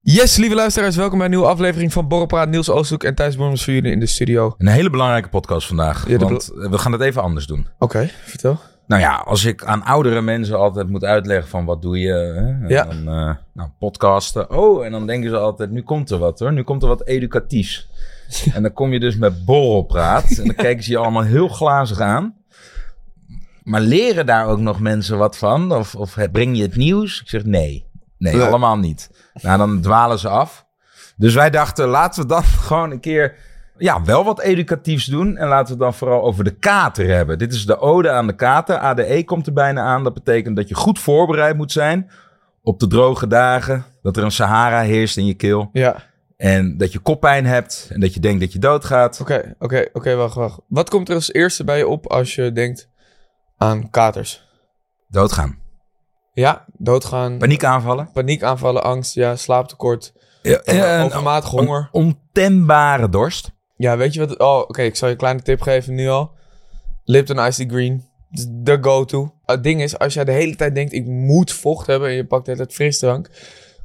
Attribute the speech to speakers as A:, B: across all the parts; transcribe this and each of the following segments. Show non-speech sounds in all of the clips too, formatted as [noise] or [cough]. A: Yes, lieve luisteraars, welkom bij een nieuwe aflevering van Borrelpraat. Niels Oosthoek en Thijs Bormans voor jullie in de studio. Oké,
B: Een hele belangrijke podcast vandaag.
A: Ja, de
B: want eh, we gaan het even anders doen.
A: vertel.
B: Nou ja, als ik aan oudere mensen altijd moet uitleggen van wat doe je. Hè, en
A: Ja.
B: dan, eh, nou, podcasten. Oh, en dan denken ze altijd, nu komt er wat hoor. Nu komt er wat educatiefs.
A: [laughs]
B: En dan kom je dus met borrelpraat. En dan kijken ze je allemaal heel glazig aan. Maar leren daar ook nog mensen wat van? Of, of het- breng je het nieuws? Ik zeg nee. Nee,
A: Nee.
B: allemaal niet. Nou, dan dwalen ze af. Dus wij dachten, laten we dan [laughs] gewoon een keer ja, wel wat educatiefs doen. En laten we het dan vooral over de kater hebben. Dit is de ode aan de kater. ADE komt er bijna aan. Dat betekent dat je goed voorbereid moet zijn op de droge dagen. Dat er een Sahara heerst in je keel.
A: Ja,
B: En dat je koppijn hebt. En dat je denkt dat je doodgaat.
A: oké, oké, oké, wacht, wacht. Wat komt er als eerste bij je op als je denkt aan katers?
B: Doodgaan.
A: Ja, doodgaan,
B: Paniekaanvallen.
A: paniekaanvallen, angst, ja, slaaptekort, eh, overmatig honger.
B: Een ontembare dorst.
A: Ja, weet je wat? Oh, oké, ik zal je een kleine tip geven nu al. Lipton Icy Green, Dat is de go-to. Het ding is, als jij de hele tijd denkt, ik moet vocht hebben en je pakt de hele tijd frisdrank,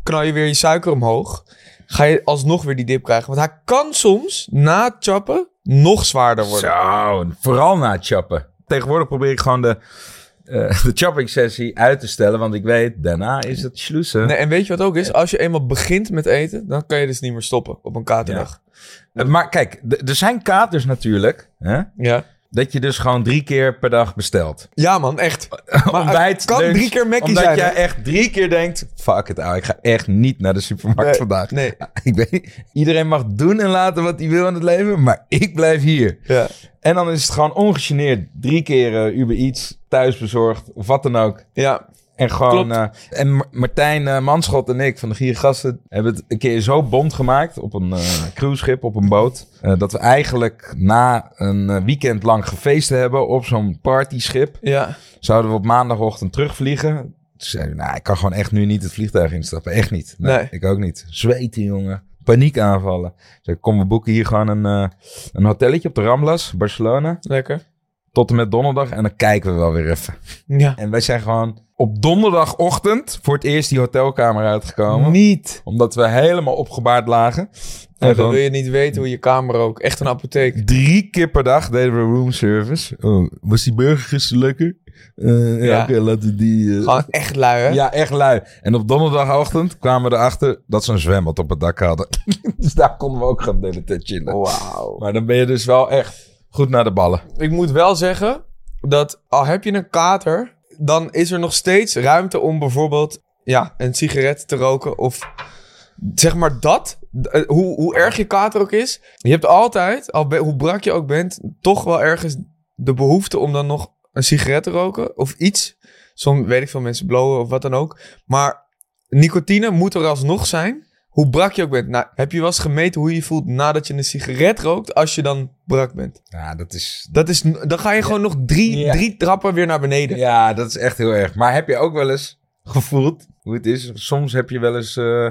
A: knal je weer je suiker omhoog, ga je alsnog weer die dip krijgen. Want hij kan soms, na het chappen, nog zwaarder worden.
B: Zo, vooral na het chappen. Tegenwoordig probeer ik gewoon de, eh, [laughs] de chopping sessie uit te stellen. Want ik weet, daarna is het slussen.
A: Nee, en weet je wat ook is? Als je eenmaal begint met eten, dan kan je dus niet meer stoppen op een katerdag.
B: Eh, Maar kijk, d- er zijn katers natuurlijk. Hè?
A: Ja. ja.
B: Dat je dus gewoon drie keer per dag bestelt. [laughs]
A: man, echt.
B: Maar
A: het kan drie keer Mackie
B: Omdat
A: zijn,
B: jij
A: hè?
B: echt drie keer denkt... Fuck it, ouwe. Ik ga echt niet naar de supermarkt
A: Nee,
B: vandaag.
A: nee.
B: Ik weet, iedereen mag doen en laten wat hij wil in het leven. Maar ik blijf hier.
A: Ja.
B: En dan is het gewoon ongegeneerd. Drie keer eh, Uber Eats, thuisbezorgd, of wat dan ook.
A: Ja,
B: En gewoon.
A: Klopt.
B: eh, en Ma- Martijn eh, Manschot en ik van de Giergasten hebben het een keer zo bond gemaakt op een eh, cruiseschip, op een boot. eh, dat we eigenlijk na een eh, weekend lang gefeest hebben op zo'n partyschip,
A: ja.
B: zouden we op maandagochtend terugvliegen. Toen zeiden we, nou, ik kan gewoon echt nu niet het vliegtuig instappen. Echt niet. Nee,
A: Nee.
B: Ik ook niet. Zweten, jongen. Paniek aanvallen. Dus kom, we boeken hier gewoon een, eh, een hotelletje op de Ramblas, Barcelona.
A: Lekker.
B: Tot en met donderdag. En dan kijken we wel weer even.
A: Ja.
B: En wij zijn gewoon op donderdagochtend voor het eerst die hotelkamer uitgekomen.
A: Niet.
B: Omdat we helemaal opgebaard lagen. En
A: En dan
B: gewoon
A: wil je niet weten hoe je kamer ook. Echt een apotheek.
B: drie keer per dag deden we roomservice. Oh, was die burger gisteren lekker? Eh, ja,
A: Ja.
B: oké, laten we die... eh,
A: Gewoon echt lui, hè?
B: Ja, echt lui. En op donderdagochtend kwamen we erachter dat ze een zwembad op het dak hadden. [laughs] dus daar konden we ook gaan de hele tijd chillen.
A: Wauw.
B: Maar dan ben je dus wel echt goed naar de ballen.
A: [laughs] Ik moet wel zeggen dat al heb je een kater, dan is er nog steeds ruimte om bijvoorbeeld ja, een sigaret te roken of zeg maar dat. d- eh, Hoe, hoe erg je kater ook is, je hebt altijd, al be- hoe brak je ook bent, toch wel ergens de behoefte om dan nog een sigaret te roken of iets. Soms weet ik veel mensen blowen of wat dan ook. Maar nicotine moet er alsnog zijn. Hoe brak je ook bent. Nou, heb je wel eens gemeten hoe je je voelt nadat je een sigaret rookt als je dan brak bent?
B: Ja, dat is,
A: Dat is, dan ga je gewoon nog drie,
B: Ja.
A: drie trappen weer naar beneden.
B: [laughs] Ja, dat is echt heel erg. Maar heb je ook wel eens gevoeld hoe het is? Soms heb je wel eens, eh,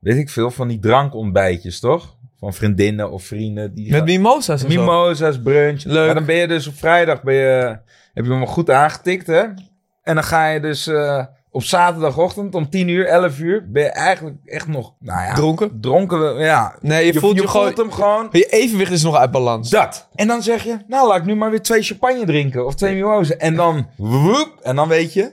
B: weet ik veel, van die drankontbijtjes, toch? Van vriendinnen of vrienden. Die
A: Met mimosa's en zo.
B: mimosa's, brunch.
A: Leuk.
B: Maar dan ben je dus op vrijdag, ben je, heb je hem goed aangetikt, hè? En dan ga je dus eh, op zaterdagochtend om 10 uur, 11 uur, ben je eigenlijk echt nog, nou ja,
A: Dronken?
B: dronken. Ja,
A: Nee, je, voelt je, gewoon...
B: voelt hem gewoon.
A: Je evenwicht is nog uit balans.
B: Dat. En dan zeg je, nou laat ik nu maar weer twee champagne drinken of twee mimozen. En dan, woep, en dan weet je,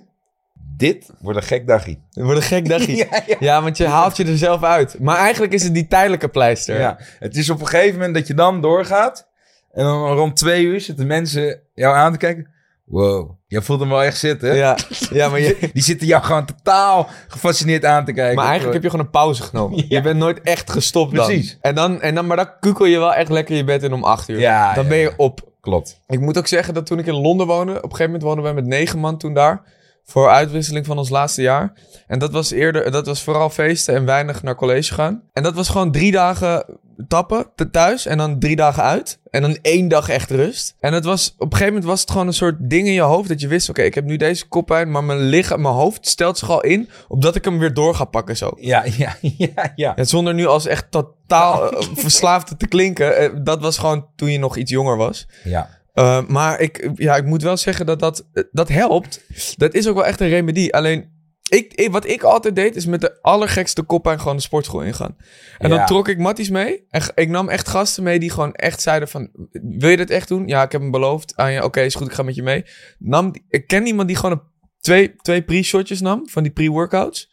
B: dit wordt een gek dagje.
A: Het wordt een gek dagje. ja,
B: [laughs] ja.
A: want je haalt je er zelf uit. Maar eigenlijk is het die tijdelijke pleister.
B: Ja. Het is op een gegeven moment dat je dan doorgaat. En dan rond twee uur zitten mensen jou aan te kijken. Wow, jij voelt hem wel echt zitten. [laughs]
A: ja. Ja, maar, je,
B: Die zitten jou gewoon totaal gefascineerd aan te kijken.
A: maar eigenlijk heb je gewoon een pauze genomen. Je bent nooit echt gestopt dan.
B: Precies.
A: En dan, en dan maar dan kukel je wel echt lekker je bed in om acht uur.
B: Ja,
A: dan
B: ja,
A: ben je
B: ja.
A: op.
B: Klopt.
A: Ik moet ook zeggen dat toen ik in Londen woonde, op een gegeven moment woonden wij met negen man toen daar. Voor uitwisseling van ons laatste jaar. En dat was eerder, dat was vooral feesten en weinig naar college gaan. En dat was gewoon drie dagen tappen te- thuis en dan drie dagen uit. En dan één dag echt rust. En het was, op een gegeven moment was het gewoon een soort ding in je hoofd dat je wist, oké, ik heb nu deze koppijn, maar mijn, lichaam, mijn hoofd stelt zich al in, opdat ik hem weer door ga pakken zo.
B: Ja, [laughs] ja, ja, ja.
A: Ja, zonder nu als echt totaal eh, verslaafde te klinken. eh, dat was gewoon toen je nog iets jonger was.
B: Ja,
A: Eh, maar ik, ja, ik moet wel zeggen dat dat, eh, dat helpt. Dat is ook wel echt een remedie. Alleen, ik, ik- wat ik altijd deed, is met de allergekste koppijn gewoon de sportschool ingaan. En
B: Ja.
A: dan trok ik matties mee. En g- ik nam echt gasten mee die gewoon echt zeiden van... Wil je dit echt doen? Ja, ik heb hem beloofd aan je. Oké, is goed, ik ga met je mee. Nam, die- ik ken iemand die gewoon een, twee, twee pre-shotjes nam van die pre-workouts.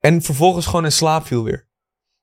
A: En vervolgens gewoon in slaap viel weer.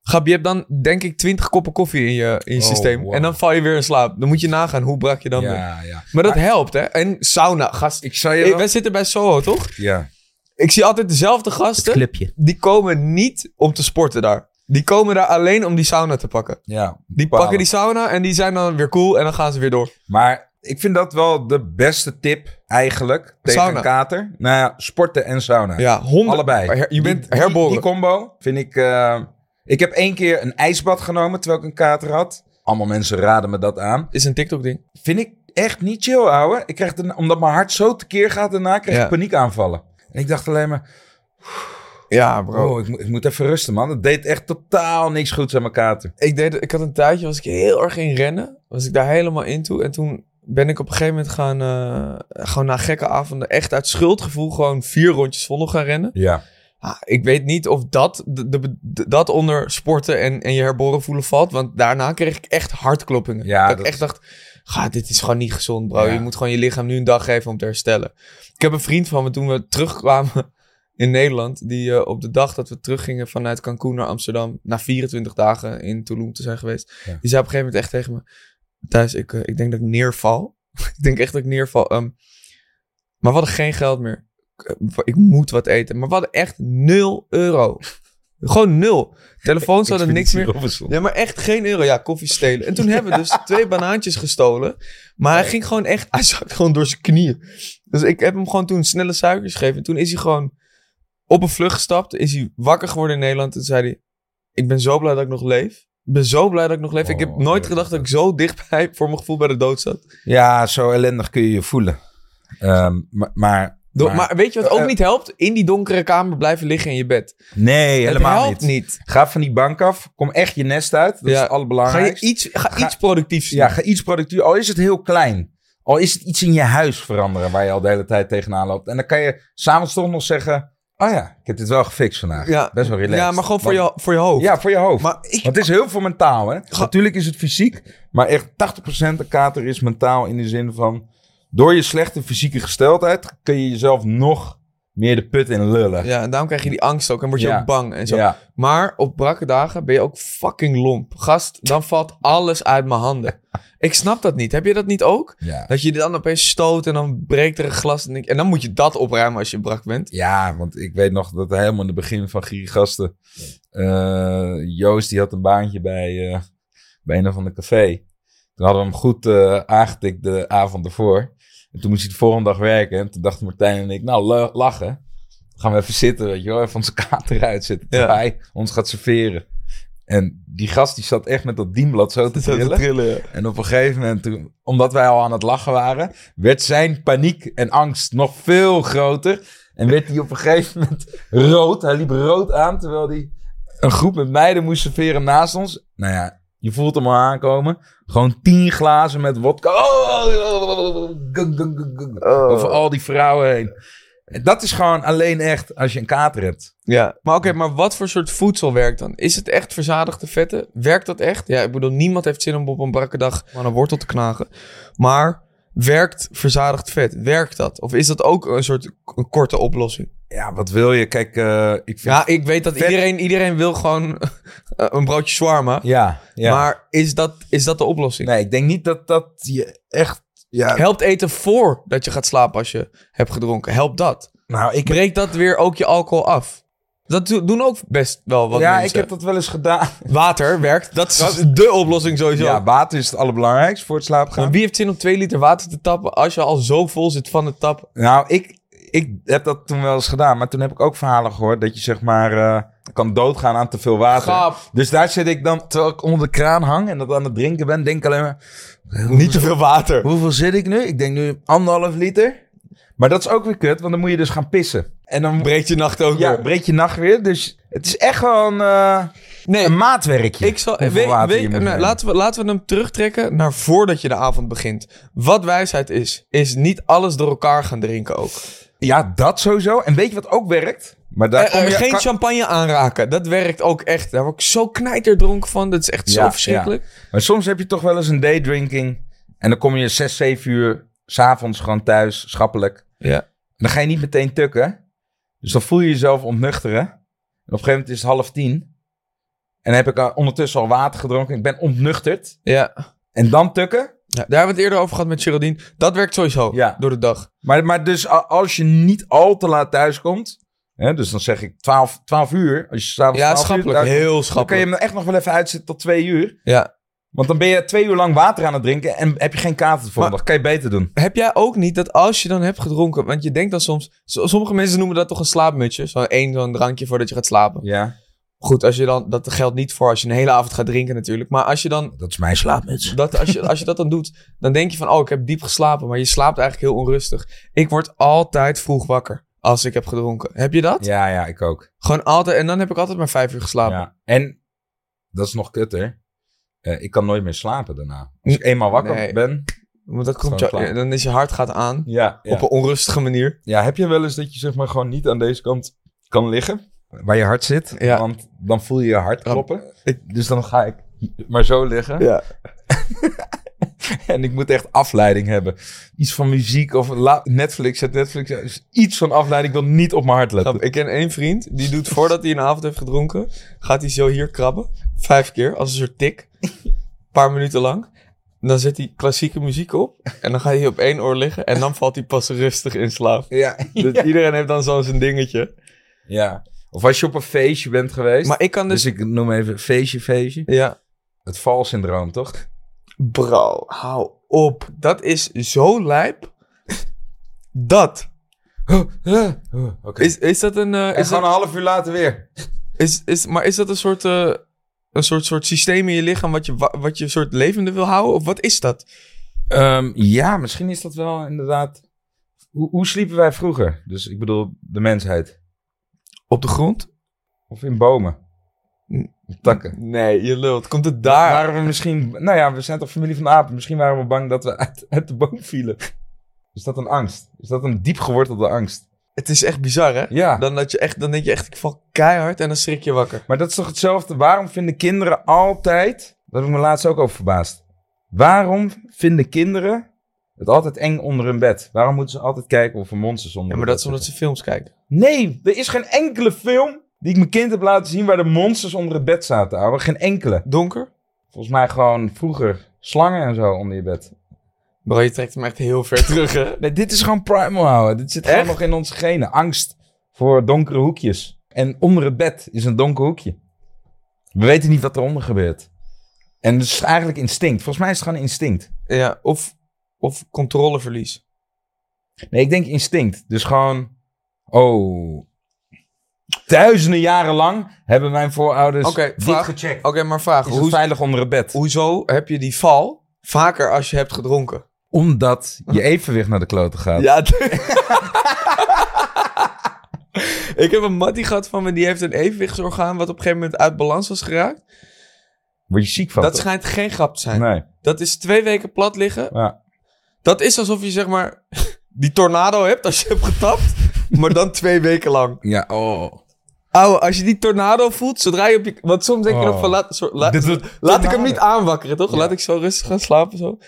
A: Gab, je hebt dan denk ik twintig koppen koffie in je, in je
B: Oh,
A: systeem.
B: wow.
A: En dan val je weer in slaap. Dan moet je nagaan hoe brak je dan bent.
B: ja, ja.
A: Maar dat helpt, hè? En sauna, gast.
B: Ik zou je
A: Ik,
B: wel...
A: wij zitten bij Soho, toch?
B: Ja.
A: Ik zie altijd dezelfde gasten.
B: Clipje.
A: Die komen niet om te sporten daar. Die komen daar alleen om die sauna te pakken.
B: Ja.
A: Die pakken die sauna en die zijn dan weer cool en dan gaan ze weer door.
B: Maar ik vind dat wel de beste tip eigenlijk tegen
A: Sauna.
B: een kater. Nou ja, sporten en sauna.
A: Ja, honderd.
B: Allebei.
A: Her- je
B: Die-
A: bent
B: die-
A: herboren.
B: Die combo vind ik... eh, ik heb één keer een ijsbad genomen terwijl ik een kater had. Allemaal mensen raden me dat aan.
A: is een TikTok-ding.
B: Vind ik echt niet chill, ouwe. Ik krijg daarna- omdat mijn hart zo tekeer gaat daarna, krijg
A: Ja.
B: ik paniekaanvallen. En ik dacht alleen maar,
A: Ja,
B: oh, ik, moet- ik moet even rusten, man. Het deed echt totaal niks goeds aan mijn kater.
A: Ik, deed, ik had een tijdje, was ik heel erg in rennen. Was ik daar helemaal in toe. En toen ben ik op een gegeven moment gaan... eh, gewoon na gekke avonden echt uit schuldgevoel... gewoon vier rondjes volle gaan rennen.
B: Ja.
A: Ah, ik weet niet of dat, de, de- de- dat onder sporten en, en je herboren voelen valt. Want daarna kreeg ik echt hartkloppingen.
B: Ja,
A: dat, ik
B: dat-
A: echt dacht, ga, dit is gewoon niet gezond, bro.
B: Ja.
A: Je moet gewoon je lichaam nu een dag geven om te herstellen. Ik heb een vriend van me toen we terugkwamen [laughs] in Nederland. Die eh, op de dag dat we teruggingen vanuit Cancún naar Amsterdam. Na 24 dagen in Tulum te zijn geweest.
B: Ja.
A: Die zei op een gegeven moment echt tegen me. Thijs, ik, eh, ik denk dat ik neerval. ik denk echt dat ik neerval. Ehm, maar we hadden geen geld meer Eh, ik moet wat eten. Maar we hadden echt 0
B: [laughs]
A: euro. Gewoon nul. Telefoons hadden niks meer. Ja, maar echt geen euro. Ja, koffie stelen. En toen hebben we
B: [laughs]
A: dus twee banaantjes gestolen. Maar hij ging gewoon echt... Hij zat gewoon door zijn knieën. Dus ik heb hem gewoon toen snelle suikers gegeven. En toen is hij gewoon op een vlucht gestapt. Is hij wakker geworden in Nederland. En toen zei hij... Ik ben zo blij dat ik nog leef. Ik ben zo blij dat ik nog leef. ik heb
B: Oh,
A: nooit
B: ja.
A: gedacht dat ik zo dichtbij... voor mijn gevoel bij de dood zat.
B: Ja, zo ellendig kun je je voelen. Ehm, maar, maar,
A: Do-
B: maar-
A: maar, weet je wat ook
B: Eh,
A: niet helpt? In die donkere kamer blijven liggen in je bed.
B: nee,
A: Het
B: helemaal
A: helpt
B: niet.
A: niet.
B: Ga van die bank af. Kom echt je nest uit. Dat is
A: Ja.
B: het
A: Ga je
B: allerbelangrijkste.
A: iets, ga
B: Ga-
A: iets productiefs doen.
B: Ja, ga iets productief. Al is het heel klein. Al is het iets in je huis veranderen waar je al de hele tijd tegenaan loopt. En dan kan je s'avonds toch nog zeggen... Oh ja, ik heb dit wel gefixt vandaag.
A: Ja.
B: Best wel relaxed.
A: Ja, maar gewoon voor
B: Want-
A: je, voor je hoofd.
B: Ja, voor je hoofd.
A: Maar ik,
B: Want het is heel veel mentaal, hè? Natuurlijk is het fysiek, maar echt 80% de kater is mentaal in de zin van... door je slechte fysieke gesteldheid kun je jezelf nog meer de put in lullen.
A: ja, en daarom krijg je die angst ook en word je
B: Ja.
A: ook bang en zo.
B: Ja.
A: Maar op brakke dagen ben je ook fucking lomp. Gast, dan valt alles uit mijn
B: [laughs]
A: handen. Ik snap dat niet. Heb je dat niet ook?
B: Ja.
A: Dat je dan opeens stoot en dan breekt er een glas. En, ik- en dan moet je dat opruimen als je brak bent.
B: Ja, want ik weet nog dat helemaal in het begin van Gierigasten... eh Joost die had een baantje bij, eh, bij een of ander café. Toen hadden we hem goed eh, aangetikt de avond ervoor. En toen moest hij de volgende dag werken. En toen dachten Martijn en ik, nou, la- lachen. Gaan we even zitten, weet je wel. Even onze kater uitzitten. Terwijl
A: Ja.
B: hij ons gaat serveren. En die gast die zat echt met dat dienblad zo te trillen. En op een gegeven moment, toen, omdat wij al aan het lachen waren, werd zijn paniek en angst nog veel groter. En werd hij op een gegeven moment rood. Hij liep rood aan, terwijl hij een groep met meiden moest serveren naast ons. Nou ja, je voelt hem al aankomen. Gewoon tien glazen met wodka. Oh, gung, gung, gung, gung.
A: Oh.
B: Over al die vrouwen heen. En Dat is gewoon alleen echt als je een kater hebt.
A: Ja. Maar oké, maar wat voor soort voedsel werkt dan? Is het echt verzadigde vetten? Werkt dat echt? Ja, ik bedoel, niemand heeft zin om op een brakke dag aan een wortel te knagen. Maar werkt verzadigd vet? Werkt dat? Of is dat ook een soort k- een korte oplossing?
B: Ja, wat wil je? Kijk, eh, ik vind...
A: Ja, ik weet dat
B: Vet-
A: iedereen, iedereen wil gewoon [laughs] eh, een broodje shawarma.
B: ja, ja.
A: Maar is dat, is dat de oplossing?
B: Nee, ik denk niet dat dat je echt... Ja,
A: Helpt eten voordat je gaat slapen als je hebt gedronken. Helpt dat.
B: nou, ik
A: Breekt dat weer ook je alcohol af. Dat do- doen ook best wel wat
B: ja,
A: mensen.
B: ik heb dat wel eens gedaan.
A: Water werkt. Dat is de oplossing sowieso.
B: [laughs] Ja, water is het allerbelangrijkste voor het slapen
A: Maar
B: gaan.
A: wie heeft zin om twee liter water te tappen als je al zo vol zit van de tap?
B: Nou, ik, ik heb dat toen wel eens gedaan, maar toen heb ik ook verhalen gehoord dat je zeg maar eh, kan doodgaan aan te veel water.
A: Grap.
B: Dus daar zit ik dan, terwijl ik onder de kraan hang en dat aan het drinken ben, denk ik alleen maar,
A: Niet te veel water.
B: hoeveel zit ik nu? Ik denk nu anderhalf liter. Maar dat is ook weer kut, want dan moet je dus gaan pissen. En dan
A: Breekt je nacht ook
B: ja,
A: weer.
B: breekt je nacht weer. Dus het is echt gewoon eh,
A: Nee,
B: een maatwerkje.
A: ik zal,
B: hoeveel
A: weet-
B: water
A: weet-
B: je moet
A: nou,
B: nemen.
A: laten, we, laten we hem terugtrekken naar voordat je de avond begint. Wat wijsheid is, is niet alles door elkaar gaan drinken ook.
B: Ja, dat sowieso. En weet je wat ook werkt? Maar daar
A: Eh,
B: kom
A: eh,
B: je-
A: geen
B: kan-
A: champagne aanraken, dat werkt ook echt. Daar word ik zo knijterdronken van, dat is echt
B: Ja,
A: zo verschrikkelijk.
B: Maar soms heb je toch wel eens een daydrinking. En dan kom je 6, 7 uur s'avonds gewoon thuis, schappelijk.
A: Ja.
B: En dan ga je niet meteen tukken. Dus dan voel je jezelf ontnuchteren. En op een gegeven moment is het half tien. En dan heb ik eh, ondertussen al water gedronken. Ik ben ontnuchterd.
A: Ja.
B: En dan tukken.
A: Ja, daar hebben we het eerder over gehad met Geraldine. Dat werkt sowieso
B: Ja.
A: door de dag.
B: Maar, maar dus a- als je niet al te laat thuiskomt. Hè, dus dan zeg ik 12, 12 uur. Als je s'avonds
A: Ja,
B: 12 uur
A: schappelijk.
B: thuiskomt,
A: Heel
B: Dan kun je
A: schappelijk.
B: hem echt nog wel even uitzetten tot twee uur.
A: Ja.
B: Want dan ben je twee uur lang water aan het drinken. En heb je geen kater voor.
A: Maar-
B: Dat kan je beter doen.
A: Heb jij ook niet dat als je dan hebt gedronken... Want je denkt dan soms... so- Sommige mensen noemen dat toch een slaapmutje. Zo'n één zo'n drankje voordat je gaat slapen.
B: Ja,
A: Goed, als je dan, dat geldt niet voor als je een hele avond gaat drinken natuurlijk. Maar als je dan...
B: dat is mijn slaapmuts.
A: Dat, als, je, als je dat dan doet, dan denk je van... Oh, ik heb diep geslapen. Maar je slaapt eigenlijk heel onrustig. Ik word altijd vroeg wakker als ik heb gedronken. Heb je dat?
B: Ja, ja, ik ook.
A: Gewoon altijd... En dan heb ik altijd maar vijf uur geslapen.
B: Ja. En dat is nog kutter. Eh, ik kan nooit meer slapen daarna. Als ik eenmaal wakker
A: Nee.
B: ben.
A: Want dan, komt
B: Gewoon
A: je,
B: klaar.
A: dan is je hart gaat aan.
B: Ja, ja.
A: Op een onrustige manier.
B: ja, heb je wel eens dat je zeg maar gewoon niet aan deze kant kan liggen? Waar je hart zit.
A: Ja.
B: Want dan voel je je hart
A: Dan-
B: kloppen. dus dan ga ik maar zo liggen.
A: Ja.
B: En ik moet echt afleiding hebben. Iets van muziek of la- Netflix. Het Netflix is iets van afleiding. Ik wil niet op mijn hart letten.
A: Grap, ik ken één vriend, die doet voordat hij een avond heeft gedronken, gaat hij zo hier krabben. Vijf keer, als een soort tik. Een paar minuten lang. En Dan zet hij klassieke muziek op. En dan gaat hij op één oor liggen. En dan valt hij pas rustig in slaap.
B: Ja.
A: Dus iedereen heeft dan zo zijn dingetje.
B: ja. Of als je op een feestje bent geweest.
A: Maar ik kan dus...
B: dus ik noem even feestje, feestje.
A: Ja.
B: Het valsyndroom, toch?
A: Bro, hou op. Dat is zo lijp. Dat.
B: Oké.
A: Is, is dat een... eh,
B: En
A: is dat,
B: gewoon een half uur later weer.
A: is, is, maar is dat een soort... eh, een soort, soort systeem in je lichaam wat je, wa- wat je soort levende wil houden? Of wat is dat?
B: Ehm, ja, misschien is dat wel inderdaad. Hoe, hoe sliepen wij vroeger? Dus ik bedoel, de mensheid.
A: Op de grond?
B: Of in bomen.
A: Hm.
B: Op takken.
A: Nee, je lult. Komt het daar?
B: Waren we misschien. Nou ja, we zijn toch familie van de apen. Misschien waren we bang dat we [laughs] uit, uit de boom vielen. Is dat een angst? Is dat een diep gewortelde angst?
A: Het is echt bizar, hè?
B: Ja.
A: Dan, dat je echt, dan denk je echt, ik val keihard en dan schrik je wakker.
B: Maar dat is toch hetzelfde? Waarom vinden kinderen altijd. Daar heb ik me laatst ook over verbaasd. Waarom vinden kinderen het altijd eng onder hun bed? Waarom moeten ze altijd kijken of er monsters onder
A: Ja,
B: hun
A: maar
B: bed
A: dat is
B: zitten?
A: omdat ze films kijken.
B: Nee, er is geen enkele film die ik mijn kind heb laten zien waar de monsters onder het bed zaten, ouwe. Geen enkele.
A: Donker?
B: Volgens mij gewoon vroeger slangen en zo onder je bed.
A: Bro, je trekt hem echt heel [laughs] ver terug, hè?
B: Nee, dit is gewoon primal, ouwe. Dit zit
A: Echt?
B: gewoon nog in onze genen. Angst voor donkere hoekjes. En onder het bed is een donker hoekje. We weten niet wat eronder gebeurt. En het is eigenlijk instinct. Volgens mij is het gewoon instinct.
A: Ja, of, of controleverlies.
B: Nee, ik denk instinct. Dus gewoon... Oh... Duizenden jaren lang hebben mijn voorouders
A: Oké,
B: dit
A: vraag.
B: gecheckt.
A: Oké, maar vraag.
B: Is het
A: hoe-
B: veilig onder het bed?
A: hoezo heb je die val vaker als je hebt gedronken?
B: Omdat je evenwicht naar de kloten gaat.
A: Ja. [laughs] ik heb een mattie gehad van me, die heeft een evenwichtsorgaan wat op een gegeven moment uit balans was geraakt.
B: Word je ziek van.
A: Dat
B: toch?
A: schijnt geen grap te zijn.
B: Nee.
A: Dat is twee weken plat liggen
B: Ja.
A: Dat is alsof je zeg maar die tornado hebt als je hebt getapt, maar dan twee weken lang.
B: ja. Oh.
A: Ouwe, als je die tornado voelt, zodra je op je... Want soms denk je
B: Oh.
A: nog van, laat, zo- la-
B: Dit is-
A: laat ik hem
B: tornado.
A: niet aanwakkeren, toch? Laat ik zo rustig gaan slapen, zo.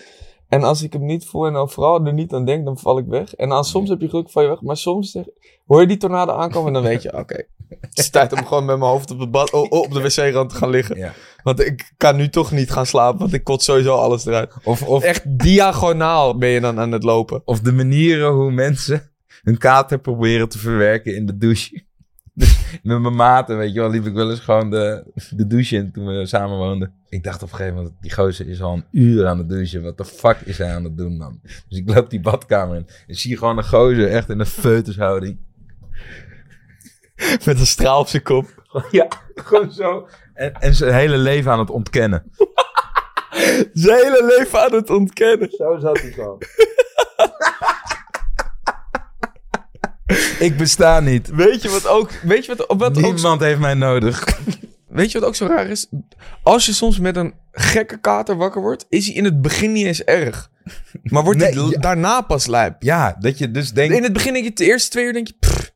A: En als ik hem niet voel en dan vooral er niet aan denk, dan val ik weg. En dan soms heb je geluk van je weg, maar soms zeg- hoor je die tornado aankomen en dan weet je,
B: [laughs]
A: oké. Het is tijd om gewoon met mijn hoofd op de, bad, o- o- op de wc-rand te gaan liggen.
B: Ja.
A: Want ik kan nu toch niet gaan slapen, want ik kot sowieso alles eruit.
B: Of, of,
A: Echt diagonaal ben je dan aan het lopen.
B: of de manieren hoe mensen hun kater proberen te verwerken in de douche. [laughs] Dus met mijn maten, weet je wel, liep ik wel eens gewoon de, de douche in toen we samen woonden. Ik dacht op een gegeven moment, die gozer is al een uur aan het douchen. Wat de fuck is hij aan het doen, man? Dus ik loop die badkamer in en zie gewoon een gozer echt in een feutushouding. [laughs]
A: Met een straal op zijn kop.
B: Ja, gewoon zo. En, en zijn hele leven aan het ontkennen.
A: Zijn hele leven aan het ontkennen.
B: Zo zat hij gewoon. ik besta niet.
A: Weet je wat ook... Weet je wat, wat ook
B: Niemand heeft mij nodig.
A: Weet je wat ook zo raar is? Als je soms met een gekke kater wakker wordt, is hij in het begin niet eens erg. Maar wordt hij
B: Nee,
A: l-
B: ja.
A: daarna pas lijp.
B: Ja, dat je dus denkt...
A: In het begin denk je, de eerste twee uur denk je, "Pff,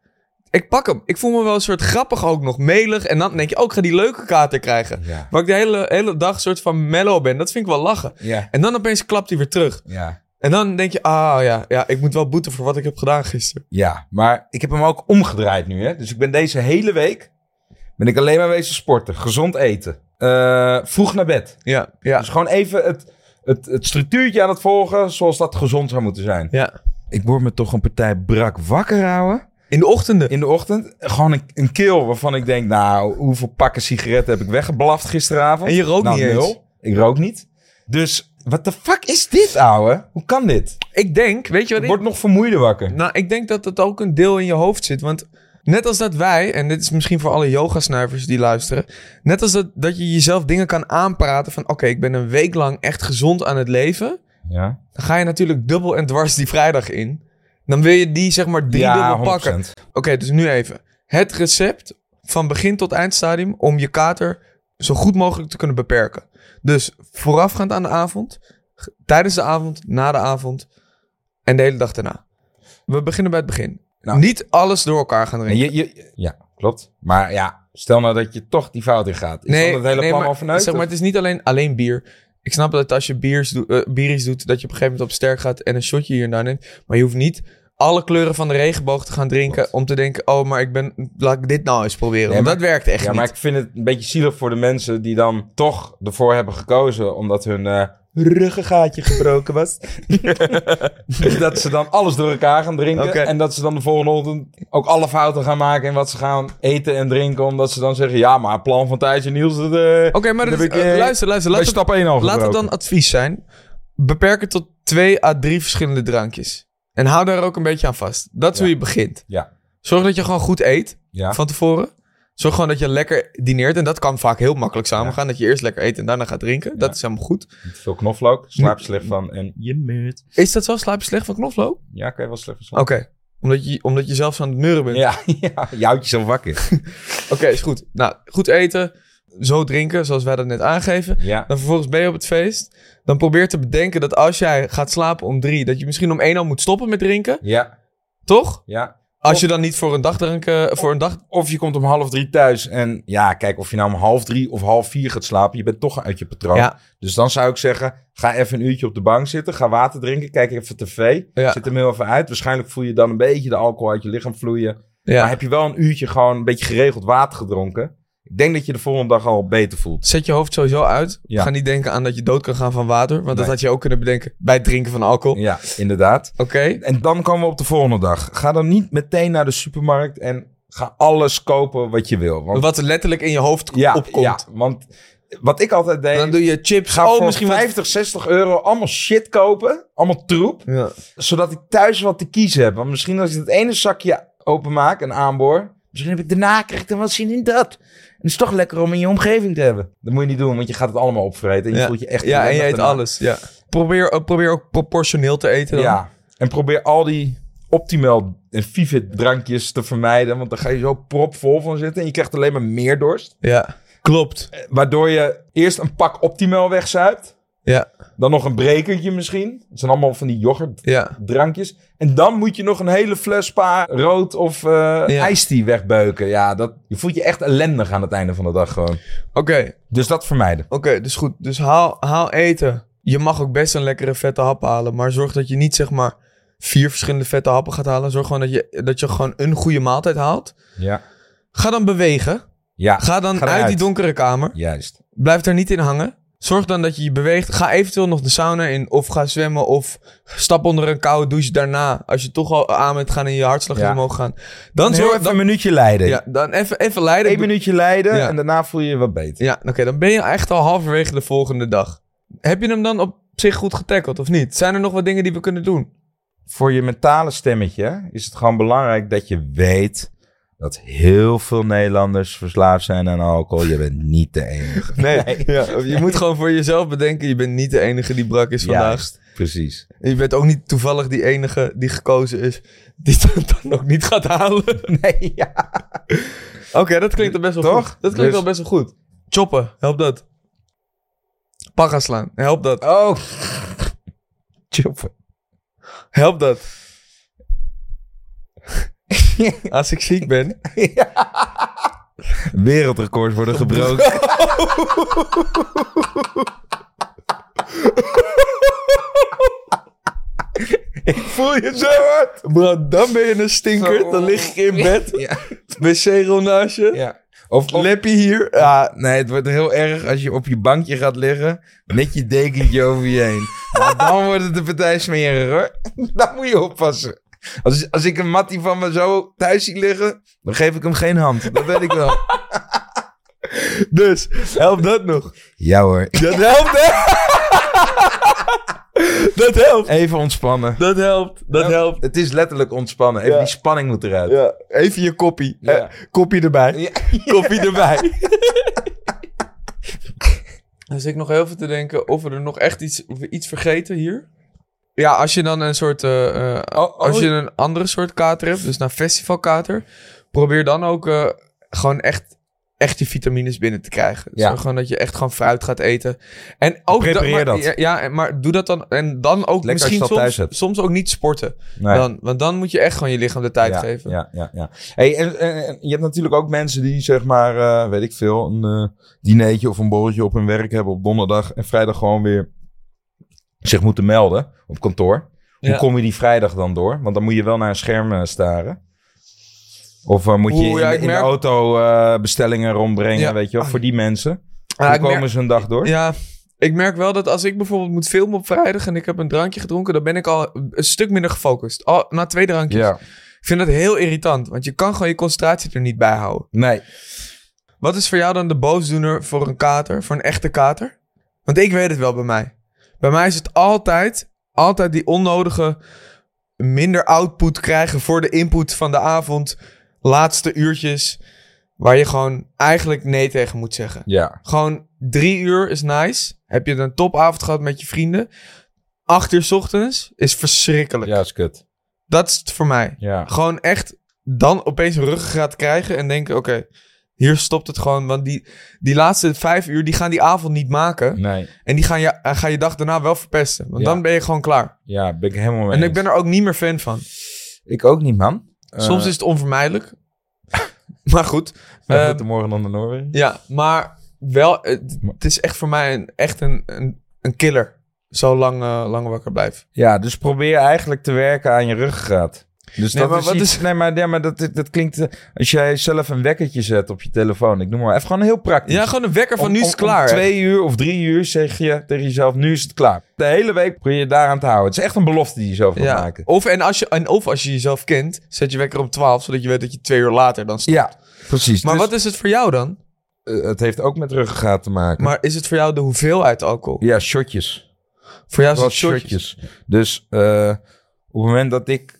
A: ik pak hem. Ik voel me wel een soort grappig ook nog, melig. En dan denk je, oh, ik ga die leuke kater krijgen.
B: Ja.
A: Waar ik de hele, hele dag soort van mellow ben. Dat vind ik wel lachen.
B: Ja.
A: En dan opeens klapt hij weer terug.
B: Ja.
A: En dan denk je, ah ja, ja ik moet wel boeten voor wat ik heb gedaan gisteren.
B: Ja, maar ik heb hem ook omgedraaid nu. Hè? Dus ik ben deze hele week ben ik alleen maar wezen sporten. Gezond eten. Eh, vroeg naar bed.
A: Ja, ja,
B: Dus gewoon even het, het, het structuurtje aan het volgen zoals dat gezond zou moeten zijn.
A: ja.
B: Ik word me toch een partij brak wakker houden.
A: In de ochtenden.
B: In de ochtend gewoon een, een keel waarvan ik denk... nou, hoeveel pakken sigaretten heb ik weggeblaft gisteravond?
A: En je rookt
B: Nou,
A: niet eens.
B: Ik rook niet. Dus wat de fuck is dit, ouwe? Hoe kan dit?
A: Ik denk, weet je wat
B: Ik
A: ik...
B: word nog vermoeider wakker.
A: Nou, ik denk dat dat ook een deel in je hoofd zit. Want net als dat wij, en dit is misschien voor alle yogasnuivers die luisteren. Net als dat, dat je jezelf dingen kan aanpraten van... Oké, ik ben een week lang echt gezond aan het leven.
B: Ja,
A: Dan ga je natuurlijk dubbel en dwars die vrijdag in. Dan wil je die zeg maar drie
B: ja
A: dubbel pakken.
B: 100%.
A: Oké, dus nu even. Het recept van begin tot eindstadium om je kater zo goed mogelijk te kunnen beperken. Dus voorafgaand aan de avond, g- tijdens de avond, na de avond en de hele dag daarna. We beginnen bij het begin.
B: Nou.
A: Niet alles door elkaar gaan
B: En
A: drinken.
B: je, je, ja, klopt. Maar ja, stel nou dat je toch die fout in gaat. Is dan het hele plan
A: maar,
B: al verneukt?
A: zeg maar, het is niet alleen, alleen bier. Ik snap dat als je biers doe- eh, bieries doet, dat je op een gegeven moment op sterk gaat en een shotje hier en daar neemt. Maar je hoeft niet alle kleuren van de regenboog te gaan drinken
B: Klopt.
A: om te denken, oh, maar ik ben, laat ik dit nou eens proberen.
B: Nee,
A: want
B: maar-
A: dat werkt echt
B: ja,
A: niet.
B: maar ik vind het een beetje zielig voor de mensen die dan toch ervoor hebben gekozen. Omdat hun eh, ruggengaatje gebroken
A: [laughs]
B: was. dat ze dan alles door elkaar gaan drinken.
A: Oké.
B: En dat ze dan de volgende ochtend ook alle fouten gaan maken. En wat ze gaan eten en drinken. Omdat ze dan zeggen, ja, maar het plan van Thijs en Niels. Dat, eh,
A: Oké, maar
B: dat
A: dat,
B: heb ik, eh,
A: eh, luister, luister.
B: bij
A: Laat het,
B: stap 1 al
A: laat het
B: gebroken.
A: dan advies zijn. Beperk het tot twee à drie verschillende drankjes. En hou daar ook een beetje aan vast. Dat is
B: Ja.
A: hoe je begint.
B: Ja,
A: Zorg dat je gewoon goed eet
B: ja.
A: van tevoren. Zorg gewoon dat je lekker dineert. En dat kan vaak heel makkelijk samengaan. gaan Dat je eerst lekker eet en daarna gaat drinken. Dat
B: Ja.
A: is helemaal goed.
B: Niet veel knoflook. Slaap slecht van. En je meurt.
A: Is dat zo? Slaap je slecht van knoflook? Oké.
B: Ja, kan je wel slecht van slapen.
A: Omdat, je, omdat je zelfs aan het muren bent.
B: Ja, [laughs] ja, je houdt jezelf wakker.
A: Oké, is goed. Nou, goed eten. Zo drinken, zoals wij dat net aangeven.
B: Ja.
A: Dan vervolgens ben je op het feest. Dan probeer te bedenken dat als jij gaat slapen om drie, dat je misschien om één al moet stoppen met drinken.
B: Ja,
A: Toch?
B: ja.
A: Als
B: Of-
A: je dan niet voor een dag drinken, voor een dag.
B: Of je komt om half drie thuis en ja, kijk, of je nou om half drie of half vier gaat slapen, je bent toch uit je patroon.
A: Ja.
B: Dus dan zou ik zeggen, ga even een uurtje op de bank zitten, ga water drinken, kijk even tv,
A: Ja.
B: zit er heel even uit. Waarschijnlijk voel je dan een beetje de alcohol uit je lichaam vloeien. Maar
A: Ja.
B: heb je wel een uurtje gewoon een beetje geregeld water gedronken, ik denk dat je de volgende dag al beter voelt.
A: Zet je hoofd sowieso uit.
B: Ja.
A: Ga niet denken aan dat je dood kan gaan van water. Want dat
B: Nee.
A: had je ook kunnen bedenken bij het drinken van alcohol.
B: Ja, inderdaad.
A: Oké.
B: En dan komen we op de volgende dag. Ga dan niet meteen naar de supermarkt en ga alles kopen wat je wil. Want
A: Wat letterlijk in je hoofd
B: ja,
A: opkomt.
B: ja, want wat ik altijd deed...
A: Dan doe je chips.
B: Ga
A: oh,
B: voor
A: misschien
B: 50, 60 euro allemaal shit kopen. Allemaal troep.
A: wat. Ja.
B: Zodat ik thuis wat te kiezen heb. Want misschien als ik het ene zakje openmaak en aanboor. Misschien heb ik daarna krijg ik dan wel zin in dat. En het is toch lekker om in je omgeving te hebben. Dat moet je niet doen, want je gaat het allemaal opvreten. En je
A: Ja.
B: voelt je echt...
A: ja, en je
B: ellendig
A: eet
B: daarna.
A: alles. Ja. Probeer, eh, probeer ook proportioneel te eten. Dan.
B: Ja. En probeer al die optimaal en Vivid drankjes te vermijden. Want dan ga je zo propvol van zitten. En je krijgt alleen maar meer dorst.
A: ja. Klopt.
B: Eh, Waardoor je eerst een pak optimaal wegzuipt.
A: Ja.
B: Dan nog een brekertje misschien. Het zijn allemaal van die yoghurt
A: Ja.
B: drankjes. En dan moet je nog een hele fles spa rood of eh ijsthee wegbeuken. Ja, dat, je voelt je echt ellendig aan het einde van de dag gewoon.
A: Oké.
B: Dus dat vermijden.
A: Oké, dus goed. Dus haal, haal eten. Je mag ook best een lekkere vette hap halen. Maar zorg dat je niet zeg maar vier verschillende vette happen gaat halen. Zorg gewoon dat je, dat je gewoon een goede maaltijd haalt.
B: Ja.
A: Ga dan bewegen.
B: Ja,
A: Ga dan
B: Ga
A: uit
B: eruit.
A: die donkere kamer.
B: juist.
A: Blijf daar niet in hangen. Zorg dan dat je je beweegt. Ga eventueel nog de sauna in. Of ga zwemmen. Of stap onder een koude douche daarna. Als je toch al aan bent gaan en je hartslag is
B: Ja.
A: omhoog gaan. Dan
B: Heel
A: zorg
B: even
A: dan,
B: een minuutje leiden.
A: ja, dan even, even leiden.
B: Eén minuutje leiden
A: Ja.
B: en daarna voel je je wat beter.
A: Ja, oké, dan ben je echt al halverwege de volgende dag. Heb je hem dan op zich goed getackled of niet? Zijn er nog wat dingen die we kunnen doen?
B: Voor je mentale stemmetje is het gewoon belangrijk dat je weet dat heel veel Nederlanders verslaafd zijn aan alcohol. Je bent niet de [laughs] enige.
A: Nee, [laughs] Ja, je moet gewoon voor jezelf bedenken, je bent niet de enige die brak is vandaag.
B: Juist, precies.
A: Je bent ook niet toevallig die enige die gekozen is, die [laughs] het dan ook niet gaat halen.
B: Nee, ja.
A: Oké, dat klinkt al best wel
B: Toch?
A: goed. Dat klinkt
B: Dus-
A: al best wel goed. Choppen, help dat. Pagga slaan, help dat.
B: Oh. Choppen.
A: Help
B: [laughs]
A: dat. Als ik ziek ben,
B: Wereldrecords worden gebroken. [laughs] Ik voel je zo hard.
A: bro, dan ben je een stinker. Dan lig ik in [laughs] bed,
B: Ja.
A: wc-rol naast je.
B: Ja. Of, of-
A: Leppie hier.
B: ja, nee, het wordt heel erg als je op je bankje gaat liggen met je dekentje over je heen. Nou, dan wordt het de partij smerig hoor. [laughs] Dan moet je oppassen. Als, als ik een mattie van me zo thuis zie liggen, dan geef ik hem geen hand. Dat weet ik wel.
A: [laughs] Dus, help dat nog.
B: Ja hoor.
A: Dat helpt, hè? dat helpt.
B: Even ontspannen.
A: Dat helpt. Dat helpt.
B: Het is letterlijk ontspannen. Even
A: Ja.
B: die spanning moet eruit.
A: Ja, even je koppie.
B: Ja.
A: Eh, koppie erbij.
B: Ja.
A: [laughs] Koppie erbij. dus ik nog heel veel te denken of we er nog echt iets, of we iets vergeten hier. Ja, als je dan een soort... eh, eh,
B: Oh, oh.
A: Als je een andere soort kater hebt, dus naar festivalkater, probeer dan ook eh, gewoon echt, echt je vitamines binnen te krijgen. Dus
B: Ja.
A: gewoon dat je echt gewoon fruit gaat eten. En ook
B: Prepareer
A: maar-
B: dat.
A: Ja, ja, en- maar doe dat dan. En dan ook
B: Lekker als je
A: misschien
B: dat thuis
A: soms,
B: hebt.
A: soms ook niet sporten.
B: Nee.
A: Dan, want dan moet je echt gewoon je lichaam de tijd
B: ja,
A: geven.
B: Ja, ja, ja. Hey, en, en- en je hebt natuurlijk ook mensen die, zeg maar, eh, weet ik veel, een eh dinertje of een borreltje op hun werk hebben op donderdag en vrijdag gewoon weer zich moeten melden op kantoor.
A: Ja.
B: Hoe kom je die vrijdag dan door? Want dan moet je wel naar een scherm eh, staren. Of eh, moet je
A: Oeh,
B: in,
A: ja,
B: de-
A: ik
B: in
A: merk-
B: de auto eh, bestellingen rondbrengen,
A: Ja.
B: weet je wel, voor die mensen.
A: Ja,
B: Hoe
A: ik merk-
B: komen ze een dag door?
A: Ja, ik merk wel dat als ik bijvoorbeeld moet filmen op vrijdag en ik heb een drankje gedronken, dan ben ik al een stuk minder gefocust. Al na twee drankjes.
B: Ja.
A: Ik vind dat heel irritant, want je kan gewoon je concentratie er niet bij houden.
B: Nee.
A: Wat is voor jou dan de boosdoener voor een kater, voor een echte kater? Want ik weet het wel bij mij. Bij mij is het altijd, altijd die onnodige minder output krijgen voor de input van de avond, laatste uurtjes, waar je gewoon eigenlijk nee tegen moet zeggen.
B: Ja.
A: Gewoon drie uur is nice. Heb je een topavond gehad met je vrienden? Acht uur 's ochtends is verschrikkelijk.
B: Ja, is kut.
A: Dat is het voor mij.
B: Ja.
A: Gewoon echt dan opeens een ruggengraat krijgen en denken: oké, hier stopt het gewoon. Want die, die laatste vijf uur die gaan die avond niet maken.
B: Nee.
A: En die gaan je, eh, gaan je dag daarna wel verpesten. Want
B: Mm. Ja.
A: dan ben je gewoon klaar.
B: Ja, ben ik helemaal mee
A: En ik
B: eens.
A: ben er ook niet meer fan van.
B: Ik ook niet, man. Eh,
A: Soms is het onvermijdelijk. [laughs] maar goed.
B: We
A: ehm,
B: moeten morgen dan naar Noorwegen.
A: Ja, maar wel, eh, d- het is echt voor mij een, echt een, een, een killer. Zo lang, eh, lang wakker blijf.
B: Ja, dus probeer eigenlijk te werken aan je ruggengraat. Dus
A: Nee,
B: dat
A: maar
B: is
A: wat
B: iets- Nee, maar, nee, maar dat, dat klinkt... eh, Als jij zelf een wekkertje zet op je telefoon, ik noem maar even gewoon heel praktisch.
A: Ja, gewoon een wekker van
B: Om-
A: nu is
B: om-
A: het klaar.
B: Om
A: hè?
B: twee uur of drie uur zeg je tegen jezelf, nu is het klaar. De hele week probeer je daaraan te houden. Het is echt een belofte die je zelf gaat
A: ja.
B: maken.
A: of, en als je, en of als je jezelf kent, zet je wekker om 12, zodat je weet dat je twee uur later dan staat.
B: Ja, precies.
A: Maar
B: Dus,
A: wat is het voor jou dan?
B: eh, het heeft ook met ruggengraat te maken.
A: Maar is het voor jou de hoeveelheid alcohol?
B: Ja, shotjes.
A: Voor jou is
B: Wel
A: het shotjes.
B: shotjes. Dus eh, op het moment dat ik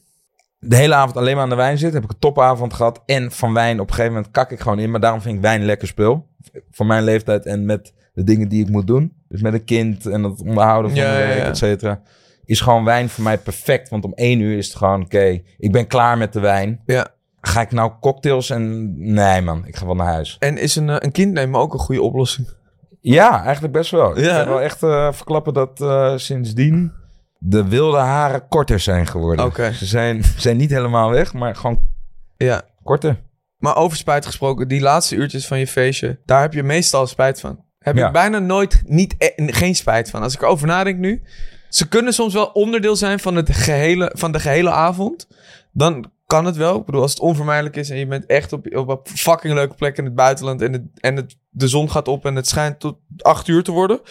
B: de hele avond alleen maar aan de wijn zit, heb ik een topavond gehad. En van wijn op een gegeven moment kak ik gewoon in. Maar daarom vind ik wijn lekker spul. Voor mijn leeftijd en met de dingen die ik moet doen. Dus met een kind en het onderhouden van
A: Ja,
B: de
A: ja,
B: werk,
A: ja.
B: et cetera. Is gewoon wijn voor mij perfect. Want om één uur is het gewoon, oké, ik ben klaar met de wijn.
A: Ja.
B: Ga ik nou cocktails en... Nee man, ik ga wel naar huis.
A: En is een, eh, een kind nemen ook een goede oplossing?
B: Ja, eigenlijk best wel. Ik
A: Ja.
B: kan wel echt eh, verklappen dat eh, sindsdien de wilde haren korter zijn geworden.
A: Oké.
B: Ze zijn, zijn niet helemaal weg, maar gewoon
A: Ja.
B: korter.
A: Maar over spijt gesproken, die laatste uurtjes van je feestje, daar heb je meestal spijt van. Heb
B: Ja.
A: ik bijna nooit niet, e- geen spijt van. Als ik erover nadenk nu, ze kunnen soms wel onderdeel zijn van, het gehele, van de gehele avond. Dan kan het wel. Ik bedoel, als het onvermijdelijk is en je bent echt op, op een fucking leuke plek in het buitenland en, het, en het, de zon gaat op en het schijnt tot acht uur te worden.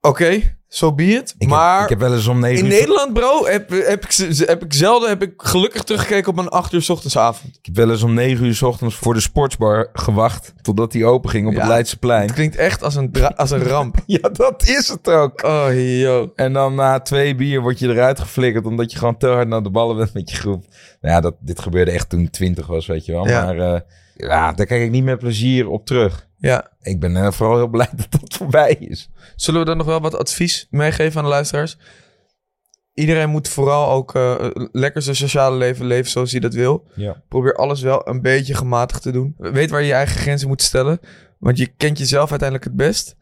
A: Oké, so be it.
B: Ik,
A: maar
B: heb, ik heb wel eens om negen
A: in
B: uur...
A: Nederland, bro, heb, heb, ik, ze- ze- heb ik zelden heb ik gelukkig teruggekeken op een acht uur 's ochtends
B: Ik heb wel eens om negen uur 's ochtends voor de sportsbar gewacht... totdat die open ging op
A: Ja.
B: het Leidseplein.
A: [laughs] Het klinkt echt als een, dra- als een
B: [laughs]
A: ramp.
B: Ja, dat is het ook.
A: Oh, yo.
B: En dan na twee bier word je eruit geflikkerd... omdat je gewoon te hard naar de ballen bent met je groep. Nou ja, dat, dit gebeurde echt toen ik twintig was, weet je wel.
A: Ja.
B: Maar eh, ja, daar kijk ik niet met plezier op terug.
A: Ja.
B: Ik ben eh, vooral heel blij [laughs] dat dat voorbij is.
A: Zullen we dan nog wel wat advies meegeven aan de luisteraars? Iedereen moet vooral ook eh, lekker zijn sociale leven leven zoals hij dat wil.
B: Ja.
A: Probeer alles wel een beetje gematigd te doen. Weet waar je je eigen grenzen moet stellen. Want je kent jezelf uiteindelijk het best.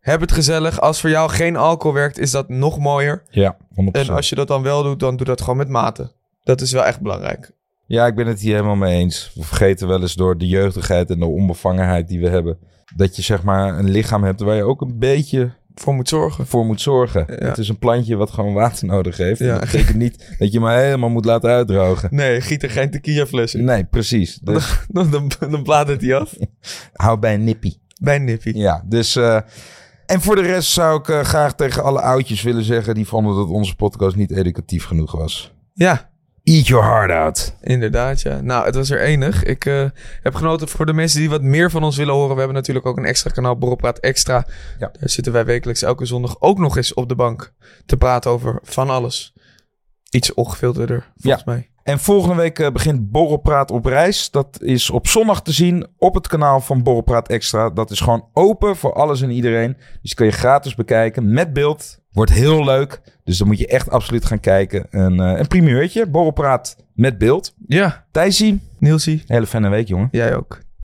A: Heb het gezellig. Als voor jou geen alcohol werkt, is dat nog mooier.
B: Ja, 100%.
A: En als je dat dan wel doet, dan doe dat gewoon met mate. Dat is wel echt belangrijk.
B: Ja, ik ben het hier helemaal mee eens. We vergeten wel eens door de jeugdigheid en de onbevangenheid die we hebben. Dat je zeg maar een lichaam hebt waar je ook een beetje
A: Voor moet zorgen.
B: voor moet zorgen.
A: Ja.
B: Het is een plantje wat gewoon water nodig heeft. En
A: Ja.
B: Dat betekent niet dat je hem helemaal moet laten uitdrogen.
A: Nee, giet er geen tequila fles in.
B: Nee, [laughs] precies. Dus
A: [laughs] Dan, dan, dan bladert hij af.
B: hou bij een nippie.
A: Bij Nippie.
B: Ja, dus... eh, en voor de rest zou ik eh, graag tegen alle oudjes willen zeggen... die vonden dat onze podcast niet educatief genoeg was.
A: Ja,
B: Eat your heart out.
A: Inderdaad, ja. Nou, het was er enig. Ik eh, heb genoten voor de mensen die wat meer van ons willen horen. We hebben natuurlijk ook een extra kanaal, Borrelpraat Extra.
B: Ja.
A: Daar zitten wij wekelijks elke zondag ook nog eens op de bank te praten over van alles. Iets ongefilterder, volgens mij.
B: En volgende week eh, begint Borrelpraat op reis. Dat is op zondag te zien op het kanaal van Borrelpraat Extra. Dat is gewoon open voor alles en iedereen. Dus kun je gratis bekijken met beeld. Wordt heel leuk. Dus dan moet je echt absoluut gaan kijken. Een, eh, een primeurtje. Borrelpraat met beeld.
A: Ja,
B: Thijsie,
A: Nielsie,
B: hele fijne week jongen.
A: jij ook.